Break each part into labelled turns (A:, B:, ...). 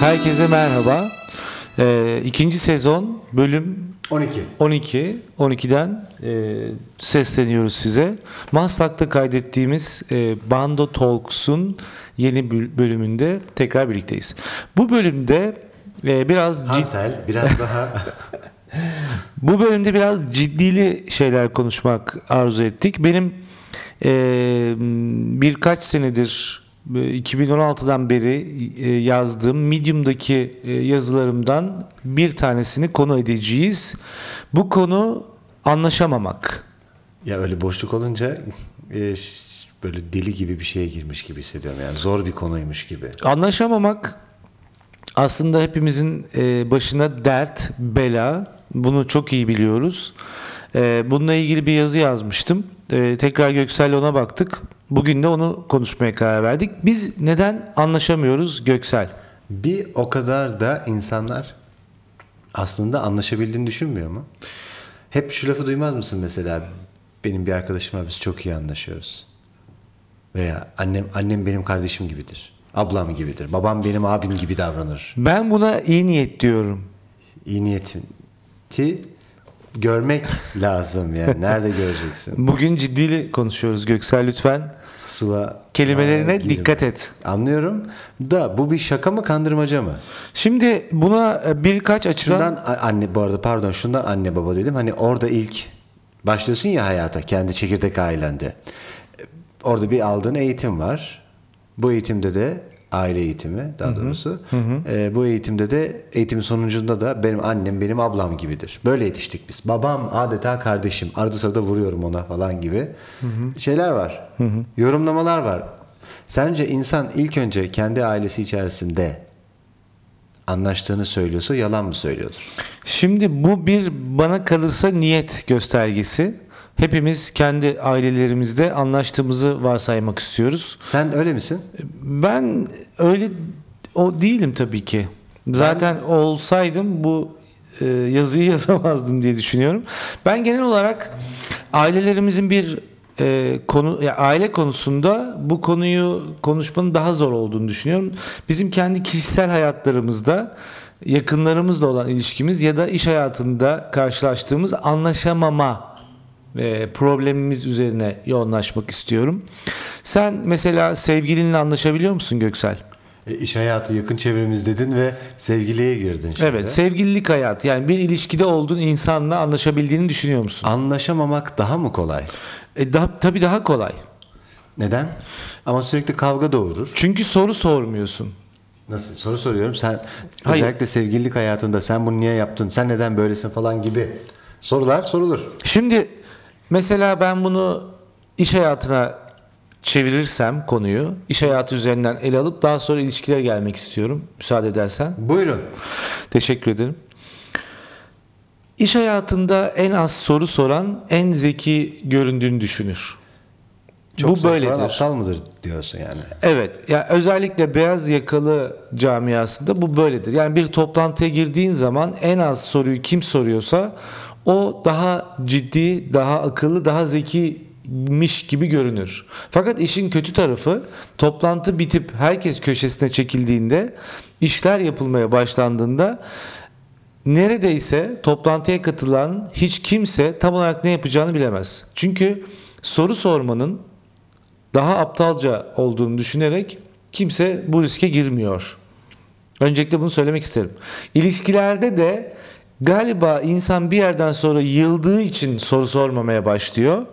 A: Herkese merhaba. Ee, ikinci sezon bölüm
B: 12.
A: 12. 12'den e, sesleniyoruz size. Maslak'ta kaydettiğimiz e, Bando Talks'un yeni bül- bölümünde tekrar birlikteyiz. Bu bölümde e, biraz cid-
B: Hansel biraz daha
A: Bu bölümde biraz ciddili şeyler konuşmak arzu ettik. Benim eee, birkaç senedir e, 2016'dan beri e, yazdığım Medium'daki e, yazılarımdan bir tanesini konu edeceğiz. Bu konu anlaşamamak.
B: ya öyle boşluk olunca e, ş- böyle deli gibi bir şeye girmiş gibi hissediyorum. Yani zor bir konuymuş gibi.
A: Anlaşamamak aslında hepimizin e, başına dert, bela. Bunu çok iyi biliyoruz. E, bununla ilgili bir yazı yazmıştım. E, tekrar Göksel'le ona baktık. Bugün de onu konuşmaya karar verdik. Biz neden anlaşamıyoruz Göksel?
B: Bir o kadar da insanlar aslında anlaşabildiğini düşünmüyor mu? Hep şu lafı duymaz mısın mesela? Benim bir arkadaşımla biz çok iyi anlaşıyoruz. Veya annem annem benim kardeşim gibidir. Ablam gibidir. Babam benim abim gibi davranır.
A: Ben buna iyi niyet diyorum.
B: İyi niyeti görmek lazım yani. Nerede göreceksin?
A: Bugün ciddi konuşuyoruz Göksel lütfen.
B: Sula
A: Kelimelerine
B: Aa, girme.
A: dikkat et.
B: e, Anlıyorum da bu bir şaka mı kandırmaca mı?
A: Şimdi buna e, birkaç açıdan...
B: Şundan a- anne bu arada pardon şundan anne baba dedim. Hani orada ilk başlıyorsun ya hayata kendi çekirdek ailende. E, Orada bir aldığın eğitim var. Bu eğitimde de aile eğitimi daha doğrusu. E, bu eğitimde de eğitimin sonucunda da benim annem benim ablam gibidir. Böyle yetiştik biz. Babam adeta kardeşim. Arada sırada vuruyorum ona falan gibi. Şeyler var. Yorumlamalar var. Sence insan ilk önce kendi ailesi içerisinde anlaştığını söylüyorsa yalan mı söylüyordur?
A: Şimdi bu bir bana kalırsa niyet göstergesi. Hepimiz kendi ailelerimizde anlaştığımızı varsaymak istiyoruz.
B: Sen öyle misin?
A: Ben öyle o değilim tabii ki. Zaten olsaydım bu e, yazıyı yazamazdım diye düşünüyorum. Ben genel olarak ailelerimizin bir e, konu ya aile konusunda bu konuyu konuşmanın daha zor olduğunu düşünüyorum. Bizim kendi kişisel hayatlarımızda yakınlarımızla olan ilişkimiz ya da iş hayatında karşılaştığımız anlaşamama e, problemimiz üzerine yoğunlaşmak istiyorum. Sen mesela sevgilinle anlaşabiliyor musun Göksel?
B: E, iş hayatı yakın çevremiz dedin ve sevgiliye girdin şimdi.
A: Evet, sevgililik hayatı yani bir ilişkide olduğun insanla anlaşabildiğini düşünüyor musun?
B: Anlaşamamak daha mı kolay?
A: E, daha, tabii daha kolay.
B: Neden? Ama sürekli kavga doğurur.
A: Çünkü soru sormuyorsun.
B: Nasıl? Soru soruyorum. Sen
A: Hayır.
B: özellikle sevgililik hayatında sen bunu niye yaptın? Sen neden böylesin falan gibi sorular sorulur.
A: Şimdi mesela ben bunu iş hayatına çevirirsem konuyu iş hayatı üzerinden ele alıp daha sonra ilişkilere gelmek istiyorum müsaade edersen.
B: Buyurun.
A: Teşekkür ederim. İş hayatında en az soru soran en zeki göründüğünü düşünür. Bu
B: soru soran
A: böyledir.
B: aptal mıdır diyorsun yani.
A: Evet. Ya özellikle beyaz yakalı camiasında bu böyledir. Yani bir toplantıya girdiğin zaman en az soruyu kim soruyorsa o daha ciddi, daha akıllı, daha zekimiş gibi görünür. Fakat işin kötü tarafı toplantı bitip herkes köşesine çekildiğinde, işler yapılmaya başlandığında Neredeyse toplantıya katılan hiç kimse tam olarak ne yapacağını bilemez. Çünkü soru sormanın daha aptalca olduğunu düşünerek kimse bu riske girmiyor. Öncelikle bunu söylemek isterim. İlişkilerde de galiba insan bir yerden sonra yıldığı için soru sormamaya başlıyor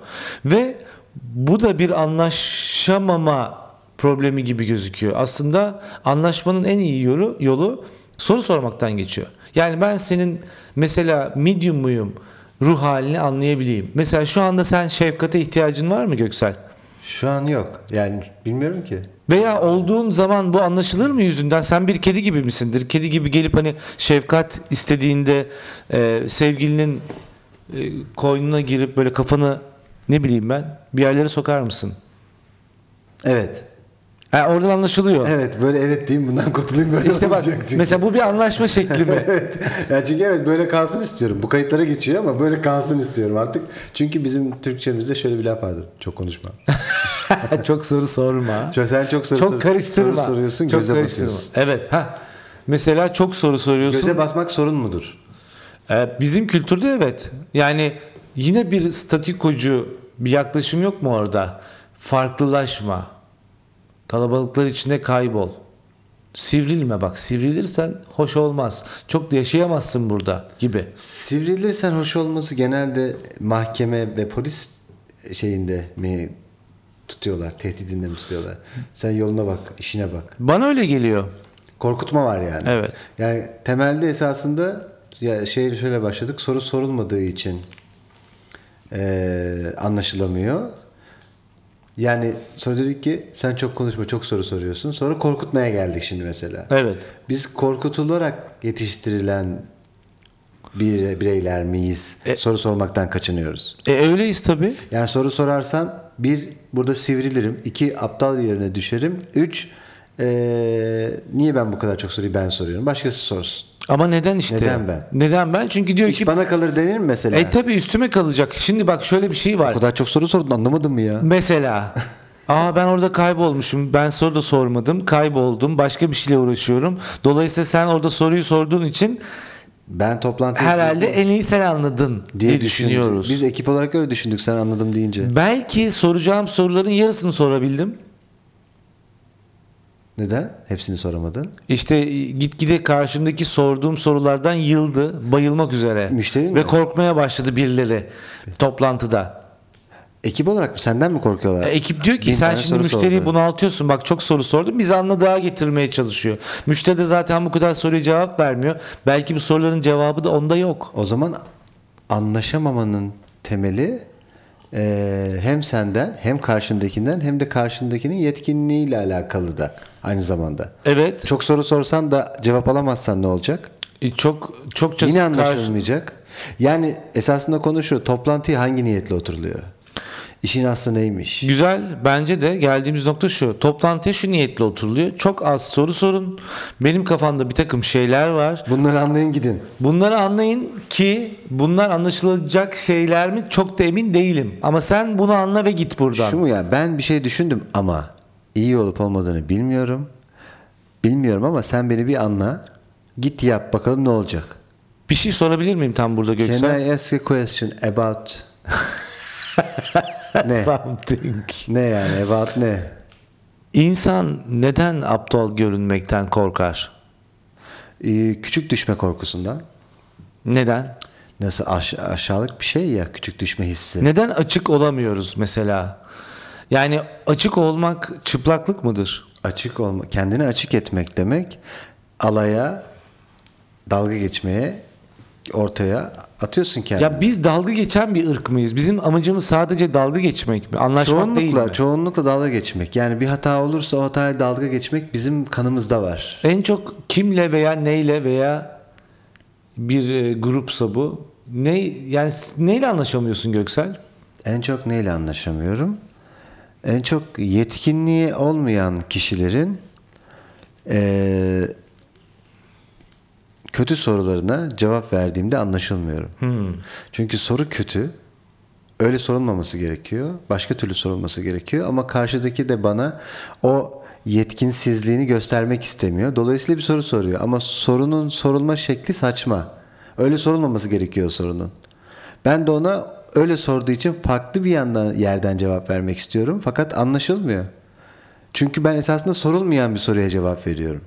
A: ve bu da bir anlaşamama problemi gibi gözüküyor. Aslında anlaşmanın en iyi yolu, yolu soru sormaktan geçiyor. Yani ben senin mesela medium muyum ruh halini anlayabileyim. Mesela şu anda sen şefkate ihtiyacın var mı Göksel?
B: Şu an yok. Yani bilmiyorum ki.
A: Veya olduğun zaman bu anlaşılır mı yüzünden? Sen bir kedi gibi misindir? Kedi gibi gelip hani şefkat istediğinde e, sevgilinin e, koynuna girip böyle kafanı ne bileyim ben bir yerlere sokar mısın?
B: Evet.
A: Ha, oradan anlaşılıyor.
B: Evet böyle evet diyeyim bundan kurtulayım böyle
A: İşte bak
B: olacak çünkü.
A: mesela bu bir anlaşma şekli mi?
B: evet. Ya çünkü evet böyle kalsın istiyorum. Bu kayıtlara geçiyor ama böyle kalsın istiyorum artık. Çünkü bizim Türkçemizde şöyle bir laf vardır. Çok konuşma.
A: Çok soru sorma.
B: Çok- Sen çok soru,
A: Çok
B: soru-
A: karıştırma.
B: soru soruyorsun,
A: Çok
B: göze
A: karıştırma.
B: batıyorsun.
A: Evet. Ha. Mesela çok soru soruyorsun.
B: Göze basmak sorun mudur?
A: Ee, bizim kültürde evet. Yani yine bir statikocu bir yaklaşım yok mu orada? Farklılaşma. Kalabalıklar içinde kaybol. Sivrilme bak. Sivrilirsen hoş olmaz. Çok da yaşayamazsın burada gibi.
B: Sivrilirsen hoş olması genelde mahkeme ve polis şeyinde mi tutuyorlar? Tehdidinde mi tutuyorlar? Sen yoluna bak, işine bak.
A: Bana öyle geliyor.
B: Korkutma var yani.
A: Evet.
B: Yani temelde esasında ya şey şöyle başladık. Soru sorulmadığı için eee, anlaşılamıyor. Yani sonra dedik ki sen çok konuşma, çok soru soruyorsun. Sonra korkutmaya geldik şimdi mesela.
A: Evet.
B: Biz korkutularak yetiştirilen bir bireyler miyiz?
A: E-
B: soru sormaktan kaçınıyoruz.
A: E öyleyiz tabii.
B: Yani soru sorarsan bir burada sivrilirim, iki aptal yerine düşerim, üç eee, niye ben bu kadar çok soruyu ben soruyorum? Başkası sorsun.
A: Ama neden işte?
B: Neden ben?
A: Neden ben? Çünkü diyor
B: İş
A: ki
B: bana kalır denir mi mesela?
A: e tabii üstüme kalacak. Şimdi bak şöyle bir şey var.
B: o kadar çok soru sordun anlamadın mı ya?
A: Mesela. Aa ben orada kaybolmuşum. Ben soru da sormadım. Kayboldum. Başka bir şeyle uğraşıyorum. Dolayısıyla sen orada soruyu sorduğun için
B: Ben toplantı
A: herhalde en iyi sen anladın diye,
B: düşündük.
A: düşünüyoruz.
B: Biz ekip olarak öyle düşündük sen anladım deyince.
A: Belki soracağım soruların yarısını sorabildim.
B: Neden? Hepsini soramadın.
A: İşte e, gitgide karşımdaki sorduğum sorulardan yıldı. Bayılmak üzere.
B: Müşteri mi?
A: Ve korkmaya başladı birileri toplantıda.
B: Ekip olarak mı? Senden mi korkuyorlar?
A: E, Ekip diyor ki
B: Bin
A: sen
B: tane
A: şimdi
B: soru
A: müşteriyi
B: sordu."
A: bunaltıyorsun. Bak çok soru sordun. Bizi anladığa getirmeye çalışıyor. Müşteri de zaten bu kadar soruya cevap vermiyor. Belki bu soruların cevabı da onda yok.
B: O zaman anlaşamamanın temeli eee, hem senden hem karşındakinden hem de karşındakinin yetkinliğiyle alakalı da aynı zamanda.
A: Evet.
B: Çok soru sorsan da cevap alamazsan ne olacak?
A: e, Çok çok
B: Yine
A: karşı-
B: anlaşılmayacak. Yani esasında konuşuyor. Toplantıya hangi niyetle oturuluyor? İşin aslı neymiş?
A: Güzel. Bence de geldiğimiz nokta şu. Toplantıya şu niyetle oturuluyor. Çok az soru sorun. Benim kafamda bir takım şeyler var.
B: Bunları anlayın gidin.
A: Bunları anlayın ki bunlar anlaşılacak şeyler mi çok da emin değilim. Ama sen bunu anla ve git buradan.
B: Şu mu ya? Ben bir şey düşündüm ama iyi olup olmadığını bilmiyorum. Bilmiyorum ama sen beni bir anla. Git yap bakalım ne olacak.
A: Bir şey sorabilir miyim tam burada Göksel?
B: Can I ask a question about ne?
A: Something.
B: Ne yani about ne?
A: İnsan neden aptal görünmekten korkar?
B: Ee, küçük düşme korkusundan.
A: Neden?
B: Nasıl aş- aşağılık bir şey ya küçük düşme hissi.
A: Neden açık olamıyoruz mesela? Yani açık olmak çıplaklık mıdır?
B: Açık olma, kendini açık etmek demek alaya dalga geçmeye ortaya atıyorsun kendini.
A: Ya biz dalga geçen bir ırk mıyız? Bizim amacımız sadece dalga geçmek mi? Anlaşmak değil mi?
B: çoğunlukla çoğunlukla dalga geçmek. Yani bir hata olursa o hataya dalga geçmek bizim kanımızda var.
A: En çok kimle veya neyle veya bir e, grupsa bu. Ne yani s- neyle anlaşamıyorsun Göksel?
B: En çok neyle anlaşamıyorum? En çok yetkinliği olmayan kişilerin eee, kötü sorularına cevap verdiğimde anlaşılmıyorum. Çünkü soru kötü. Öyle sorulmaması gerekiyor. Başka türlü sorulması gerekiyor. Ama karşıdaki de bana o yetkinsizliğini göstermek istemiyor. Dolayısıyla bir soru soruyor. Ama sorunun sorulma şekli saçma. Öyle sorulmaması gerekiyor sorunun. Ben de ona öyle sorduğu için farklı bir yandan yerden cevap vermek istiyorum. Fakat anlaşılmıyor. Çünkü ben esasında sorulmayan bir soruya cevap veriyorum.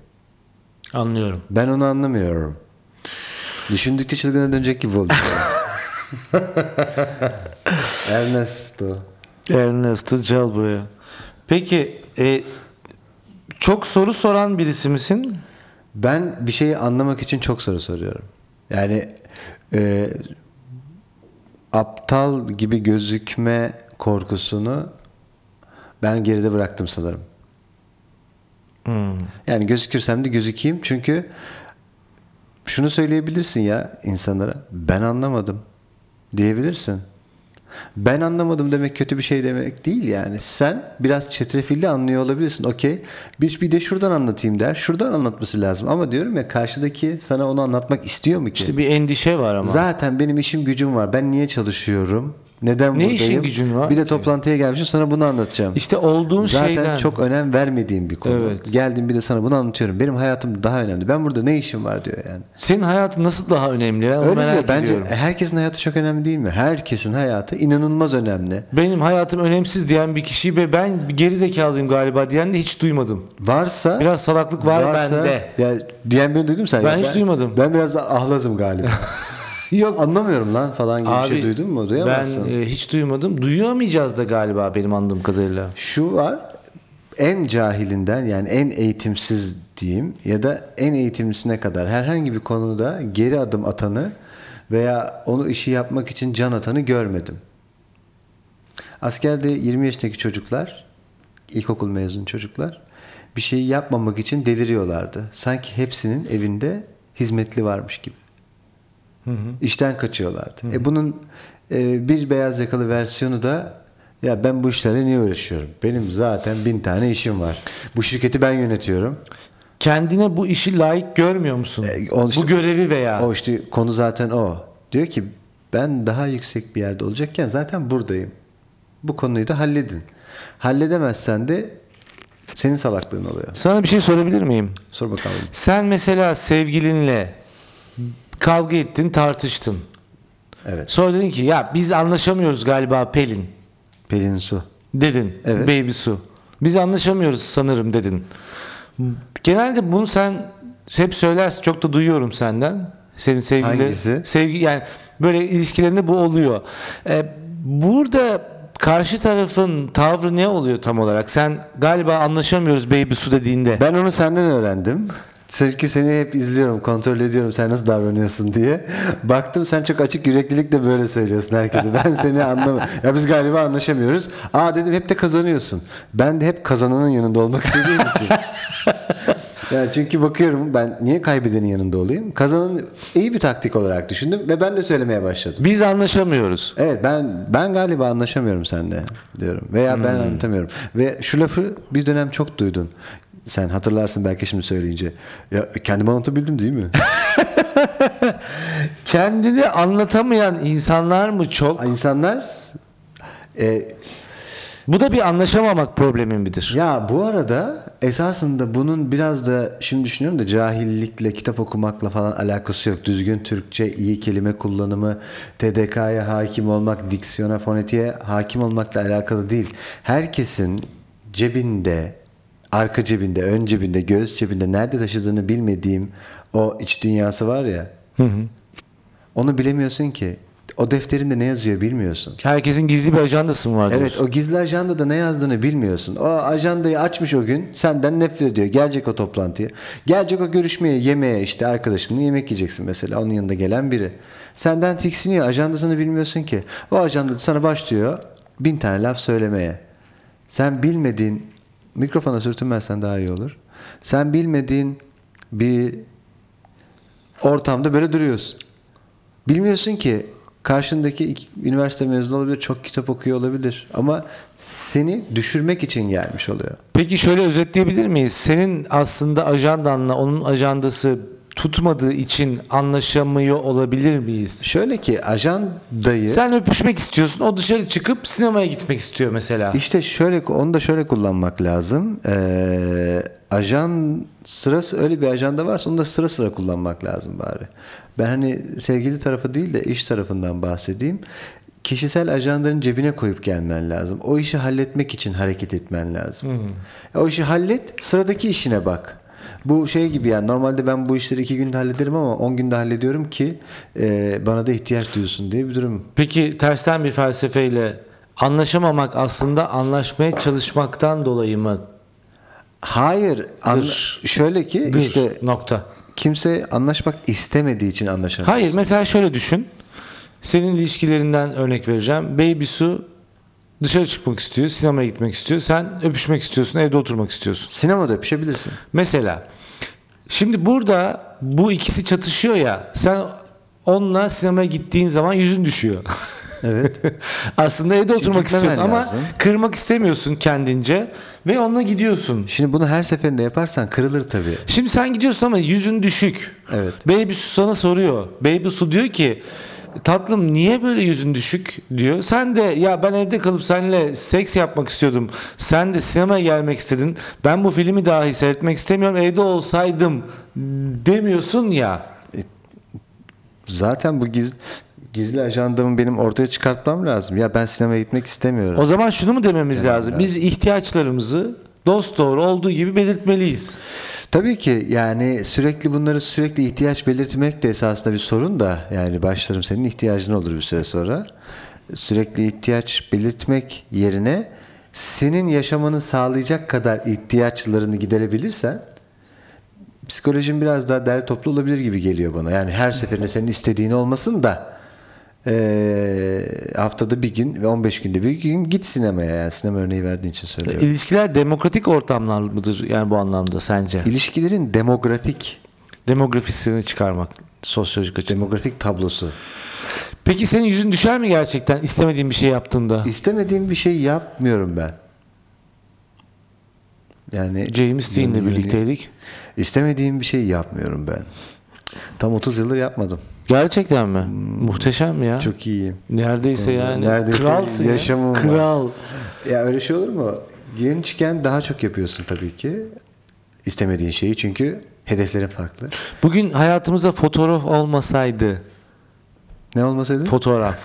A: Anlıyorum.
B: Ben onu anlamıyorum. Düşündükçe çılgına dönecek gibi oldu. Ernesto.
A: Ernesto Calbo'ya. Peki e, çok soru soran birisi misin?
B: Ben bir şeyi anlamak için çok soru soruyorum. Yani e, aptal gibi gözükme korkusunu ben geride bıraktım sanırım. Hmm. Yani gözükürsem de gözükeyim çünkü şunu söyleyebilirsin ya insanlara ben anlamadım diyebilirsin. Ben anlamadım demek kötü bir şey demek değil yani. Sen biraz çetrefilli anlıyor olabilirsin. Okey. Bir, bir de şuradan anlatayım der. Şuradan anlatması lazım. Ama diyorum ya karşıdaki sana onu anlatmak istiyor mu ki?
A: İşte bir endişe var ama.
B: Zaten benim işim gücüm var. Ben niye çalışıyorum? Neden
A: Ne
B: buradayım?
A: işin gücün var
B: Bir de
A: ki?
B: toplantıya gelmişim sana bunu anlatacağım.
A: İşte olduğun
B: Zaten
A: şeyden
B: çok önem vermediğim bir konu.
A: Evet.
B: Geldim bir de sana bunu anlatıyorum. Benim hayatım daha önemli. Ben burada ne işim var diyor yani.
A: senin hayatın nasıl daha önemli? Ben onu
B: Öyle
A: merak
B: diyor. Bence
A: ediyorum.
B: herkesin hayatı çok önemli değil mi? Herkesin hayatı inanılmaz önemli.
A: Benim hayatım önemsiz diyen bir kişiyi ve ben geri zekalıyım galiba diyen de hiç duymadım.
B: Varsa
A: Biraz salaklık var bende.
B: Ya, diyen birini duydun mu sen?
A: Ben
B: Ya
A: hiç duymadım.
B: Ben biraz ahlazım galiba.
A: Yok
B: Anlamıyorum lan falan gibi bir şey duydun mu? Duyamazsın.
A: Ben e, hiç duymadım. Duyamayacağız da galiba benim anladığım kadarıyla.
B: Şu var. En cahilinden yani en eğitimsiz diyeyim ya da en eğitimlisine kadar herhangi bir konuda geri adım atanı veya onu işi yapmak için can atanı görmedim. Askerde 20 yaşındaki çocuklar, ilkokul mezun çocuklar bir şeyi yapmamak için deliriyorlardı. Sanki hepsinin evinde hizmetli varmış gibi. İşten kaçıyorlardı. E bunun e, bir beyaz yakalı versiyonu da ya ben bu işlerle niye uğraşıyorum? Benim zaten bin tane işim var. Bu şirketi ben yönetiyorum.
A: Kendine bu işi layık görmüyor musun?
B: E, o işte-
A: bu görevi veya.
B: O işte konu zaten o. Diyor ki ben daha yüksek bir yerde olacakken zaten buradayım. Bu konuyu da halledin. Halledemezsen de senin salaklığın oluyor.
A: Sana bir şey sorabilir miyim?
B: Sor bakalım.
A: Sen mesela sevgilinle kavga ettin, tartıştın.
B: Evet.
A: Sonra dedin ki ya biz anlaşamıyoruz galiba Pelin
B: Pelin Su.
A: dedin.
B: Evet.
A: Baby su. Biz anlaşamıyoruz sanırım dedin. Genelde bunu sen hep söylersin. Çok da duyuyorum senden. Senin sevgili
B: Hangisi?
A: sevgi yani böyle ilişkilerinde bu oluyor. Ee, burada karşı tarafın tavrı ne oluyor tam olarak? Sen galiba anlaşamıyoruz baby su dediğinde.
B: Ben onu senden öğrendim. Çünkü seni hep izliyorum, kontrol ediyorum sen nasıl davranıyorsun diye. Baktım sen çok açık yüreklilikle böyle söylüyorsun herkese. Ben seni anlamıyorum. Ya biz galiba anlaşamıyoruz. Aa dedim hep de kazanıyorsun. Ben de hep kazananın yanında olmak istediğim için. Yani çünkü bakıyorum ben niye kaybedenin yanında olayım? Kazanan iyi bir taktik olarak düşündüm ve ben de söylemeye başladım.
A: Biz anlaşamıyoruz.
B: Evet ben ben galiba anlaşamıyorum seninle diyorum veya ben anlatamıyorum. Ve şu lafı bir dönem çok duydun. Sen hatırlarsın belki şimdi söyleyince. Ya kendimi anlatabildim değil mi?
A: Kendini anlatamayan insanlar mı çok?
B: İnsanlar e,
A: Bu da bir anlaşamamak problemi midir?
B: Ya bu arada esasında bunun biraz da şimdi düşünüyorum da cahillikle kitap okumakla falan alakası yok. Düzgün Türkçe, iyi kelime kullanımı, TDK'ya hakim olmak, diksiyona, fonetiğe hakim olmakla alakalı değil. Herkesin cebinde, arka cebinde, ön cebinde, göğüs cebinde nerede taşıdığını bilmediğim o iç dünyası var ya. Onu bilemiyorsun ki. O defterinde ne yazıyor bilmiyorsun.
A: Herkesin gizli bir ajandası mı var
B: Evet
A: diyorsun?
B: o gizli ajandada ne yazdığını bilmiyorsun. O ajandayı açmış o gün senden nefret ediyor. Gelecek o toplantıya. Gelecek o görüşmeye yemeğe işte arkadaşınla yemek yiyeceksin mesela onun yanında gelen biri. Senden tiksiniyor ajandasını bilmiyorsun ki. O ajanda sana başlıyor bin tane laf söylemeye. Sen bilmediğin mikrofona sürtünmezsen daha iyi olur. Sen bilmediğin bir ortamda böyle duruyorsun. Bilmiyorsun ki karşındaki iki- üniversite mezunu olabilir, çok kitap okuyor olabilir ama seni düşürmek için gelmiş oluyor.
A: Peki şöyle özetleyebilir miyiz? Senin aslında ajandanla onun ajandası tutmadığı için anlaşamıyor olabilir miyiz?
B: Şöyle ki ajandayı
A: Sen öpüşmek istiyorsun. O dışarı çıkıp sinemaya gitmek istiyor mesela.
B: işte şöyle onu da şöyle kullanmak lazım. Ee, ajan sırası öyle bir ajanda varsa onu da sıra sıra kullanmak lazım bari. Ben hani sevgili tarafı değil de iş tarafından bahsedeyim. Kişisel ajandanın cebine koyup gelmen lazım. O işi halletmek için hareket etmen lazım.
A: Hmm.
B: O işi hallet, sıradaki işine bak. Bu şey gibi yani normalde ben bu işleri iki günde hallederim ama 10 günde hallediyorum ki e, bana da ihtiyaç duyulsun diye bir durum
A: Peki tersten bir felsefeyle anlaşamamak aslında anlaşmaya çalışmaktan dolayı mı?
B: Hayır. anla-
A: Dır.
B: şöyle ki
A: Dır,
B: işte
A: nokta.
B: kimse anlaşmak istemediği için anlaşamıyor.
A: Hayır mesela şöyle düşün. Senin ilişkilerinden örnek vereceğim. Baby Su dışarı çıkmak istiyor, sinemaya gitmek istiyor. Sen öpüşmek istiyorsun, evde oturmak istiyorsun.
B: Sinemada öpüşebilirsin.
A: Mesela şimdi burada bu ikisi çatışıyor ya. Sen onunla sinemaya gittiğin zaman yüzün düşüyor.
B: Evet.
A: Aslında evde oturmak
B: gitmemen
A: istiyorsun ama
B: lazım.
A: kırmak istemiyorsun kendince ve onunla gidiyorsun.
B: Şimdi bunu her seferinde yaparsan kırılır tabii.
A: Şimdi sen gidiyorsun ama yüzün düşük.
B: Evet.
A: Baby Su sana soruyor. Baby Su diyor ki tatlım niye böyle yüzün düşük diyor. Sen de ya ben evde kalıp seninle seks yapmak istiyordum. Sen de sinemaya gelmek istedin. Ben bu filmi dahi seyretmek istemiyorum. Evde olsaydım demiyorsun ya.
B: Zaten bu giz- gizli ajandamı benim ortaya çıkartmam lazım. Ya ben sinemaya gitmek istemiyorum.
A: O zaman şunu mu dememiz lazım? Biz ihtiyaçlarımızı dost doğru olduğu gibi belirtmeliyiz.
B: Tabii ki yani sürekli bunları sürekli ihtiyaç belirtmek de esasında bir sorun da yani başlarım senin ihtiyacın olur bir süre sonra. Sürekli ihtiyaç belirtmek yerine senin yaşamanı sağlayacak kadar ihtiyaçlarını giderebilirsen psikolojin biraz daha derli toplu olabilir gibi geliyor bana. Yani her seferinde senin istediğin olmasın da eee, haftada bir gün ve 15 günde bir gün git sinemaya. Yani sinema örneği verdiğin için söylüyorum.
A: İlişkiler demokratik ortamlar mıdır yani bu anlamda sence?
B: İlişkilerin demografik
A: Demografisini çıkarmak sosyolojik açıdan.
B: demografik tablosu.
A: Peki senin yüzün düşer mi gerçekten istemediğin bir şey yaptığında?
B: İstemediğim bir şey yapmıyorum ben. Yani
A: James Dean'le
B: Yani-
A: birlikteydik.
B: İstemediğim bir şey yapmıyorum ben. Tam 30 yıldır yapmadım.
A: Gerçekten mi? Muhteşem ya.
B: Hmm. Çok iyiyim.
A: Neredeyse yani.
B: Neredeyse
A: Kralsın
B: yaşamım
A: ya.
B: var.
A: Kral.
B: Ya öyle şey olur mu? Gençken daha çok yapıyorsun tabii ki. İstemediğin şeyi çünkü hedeflerin farklı.
A: Bugün hayatımıza fotoğraf olmasaydı.
B: Ne olmasaydı?
A: Fotoğraf.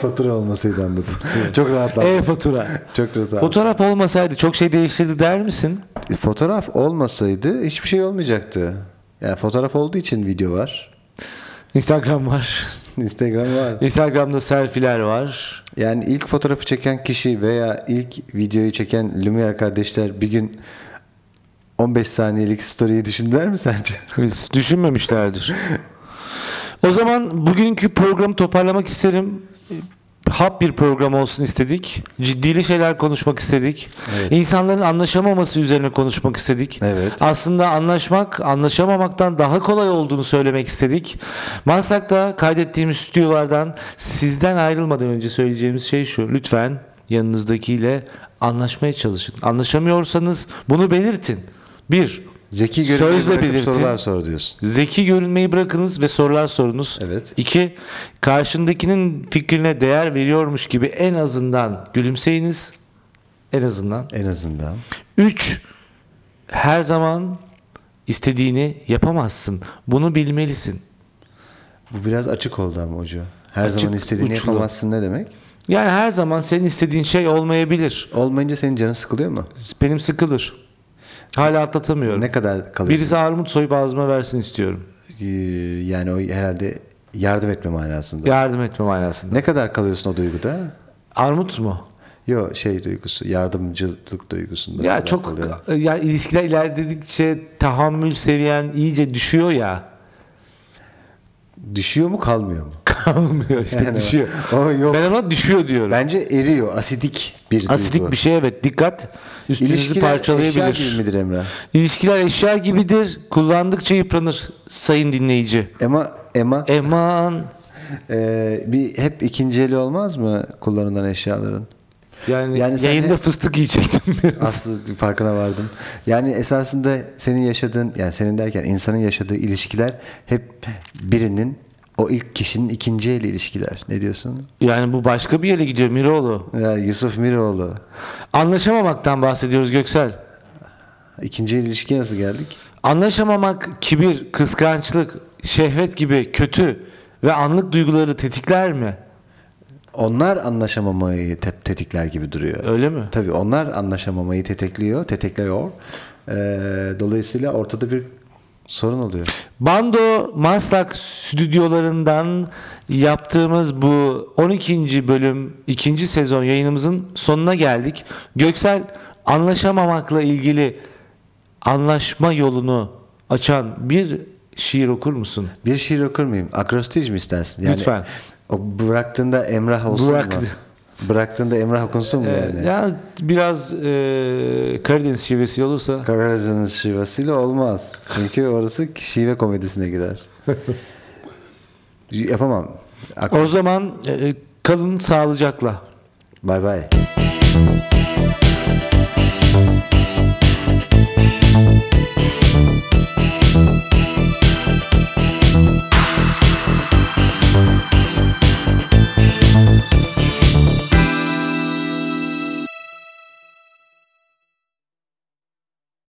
B: Fatura olmasaydı anladım. çok rahatladım.
A: E-fatura.
B: Çok rahat.
A: Fotoğraf olmasaydı çok şey değiştirdi der misin?
B: Fotoğraf olmasaydı hiçbir şey olmayacaktı. Yani fotoğraf olduğu için video var.
A: Instagram var.
B: Instagram var.
A: Instagram'da selfie'ler var.
B: Yani ilk fotoğrafı çeken kişi veya ilk videoyu çeken Lumiere kardeşler bir gün 15 saniyelik story'yi düşündüler mi sence?
A: Biz düşünmemişlerdir. O zaman bugünkü programı toparlamak isterim. Hap bir program olsun istedik. Ciddili şeyler konuşmak istedik.
B: Evet.
A: İnsanların anlaşamaması üzerine konuşmak istedik.
B: Evet.
A: Aslında anlaşmak, anlaşamamaktan daha kolay olduğunu söylemek istedik. Maslak'ta kaydettiğimiz stüdyolardan sizden ayrılmadan önce söyleyeceğimiz şey şu. Lütfen yanınızdakiyle anlaşmaya çalışın. Anlaşamıyorsanız bunu belirtin. Bir,
B: Zeki
A: Sözle
B: görünmeyi bırakıp
A: belirtin.
B: sorular sor diyorsun.
A: Zeki görünmeyi bırakınız ve sorular sorunuz.
B: Evet.
A: İki, karşındakinin fikrine değer veriyormuş gibi en azından gülümseyiniz. En azından.
B: En azından.
A: Üç, her zaman istediğini yapamazsın. Bunu bilmelisin.
B: Bu biraz açık oldu ama hoca. Her
A: Açık,
B: zaman istediğini
A: uçlu.
B: yapamazsın ne demek?
A: Yani her zaman senin istediğin şey olmayabilir.
B: Olmayınca senin canın sıkılıyor mu?
A: Benim sıkılır. Hala atlatamıyorum.
B: Ne kadar kalıyor?
A: Birisi armut soyup ağzıma versin istiyorum.
B: Ee, Yani o herhalde yardım etme manasında.
A: Yardım etme manasında.
B: Ne kadar kalıyorsun o duyguda?
A: Armut mu?
B: Yo şey duygusu, yardımcılık duygusunda. ne
A: Ya
B: kadar
A: çok e,
B: kalıyor?
A: ya ilişkiler ilerledikçe tahammül seviyen iyice düşüyor ya.
B: Düşüyor mu kalmıyor mu?
A: Kalmıyor işte
B: Yani
A: düşüyor.
B: o yok.
A: Ben ona düşüyor diyorum.
B: Bence eriyor. Asidik bir duygu.
A: Asidik bir şey evet dikkat üstünüzü
B: İlişkiler eşya
A: parçalayabilir.
B: gibi midir Emre?
A: İlişkiler eşya gibidir. Kullandıkça yıpranır sayın dinleyici.
B: Ema, Ema
A: Eman
B: e, bir hep ikinci eli olmaz mı kullanılan eşyaların?
A: yani,
B: Yani sen
A: yayında
B: de-
A: fıstık yiyecektim biraz.
B: Aslında farkına vardım. Yani esasında senin yaşadığın, yani senin derken insanın yaşadığı ilişkiler hep birinin o ilk kişinin ikinci eli ilişkiler. Ne diyorsun?
A: Yani bu başka bir yere gidiyor Miroğlu.
B: Ya Yusuf Miroğlu.
A: Anlaşamamaktan bahsediyoruz Göksel.
B: İkinci el ilişkiye nasıl geldik?
A: Anlaşamamak kibir, kıskançlık, şehvet gibi kötü ve anlık duyguları tetikler mi?
B: Onlar anlaşamamayı te- tetikler gibi duruyor.
A: Öyle mi?
B: Tabii onlar anlaşamamayı tetekliyor, tetekliyor. Ee, dolayısıyla ortada bir sorun oluyor.
A: Bando Maslak stüdyolarından yaptığımız bu 12. bölüm 2. sezon yayınımızın sonuna geldik. Göksel anlaşamamakla ilgili anlaşma yolunu açan bir şiir okur musun?
B: Bir şiir okur muyum? Akrostij mi istersin?
A: Lütfen.
B: O bıraktığında Emrah olsun
A: Bırak-
B: mu? Bıraktığında Emrah okunsun mu yani?
A: Ya biraz e, Karadeniz şivesi olursa
B: Karadeniz şivasıyla olmaz. Çünkü orası şive komedisine girer. Yapamam. Ak-
A: o zaman e, kalın sağlıcakla.
B: Bay bay.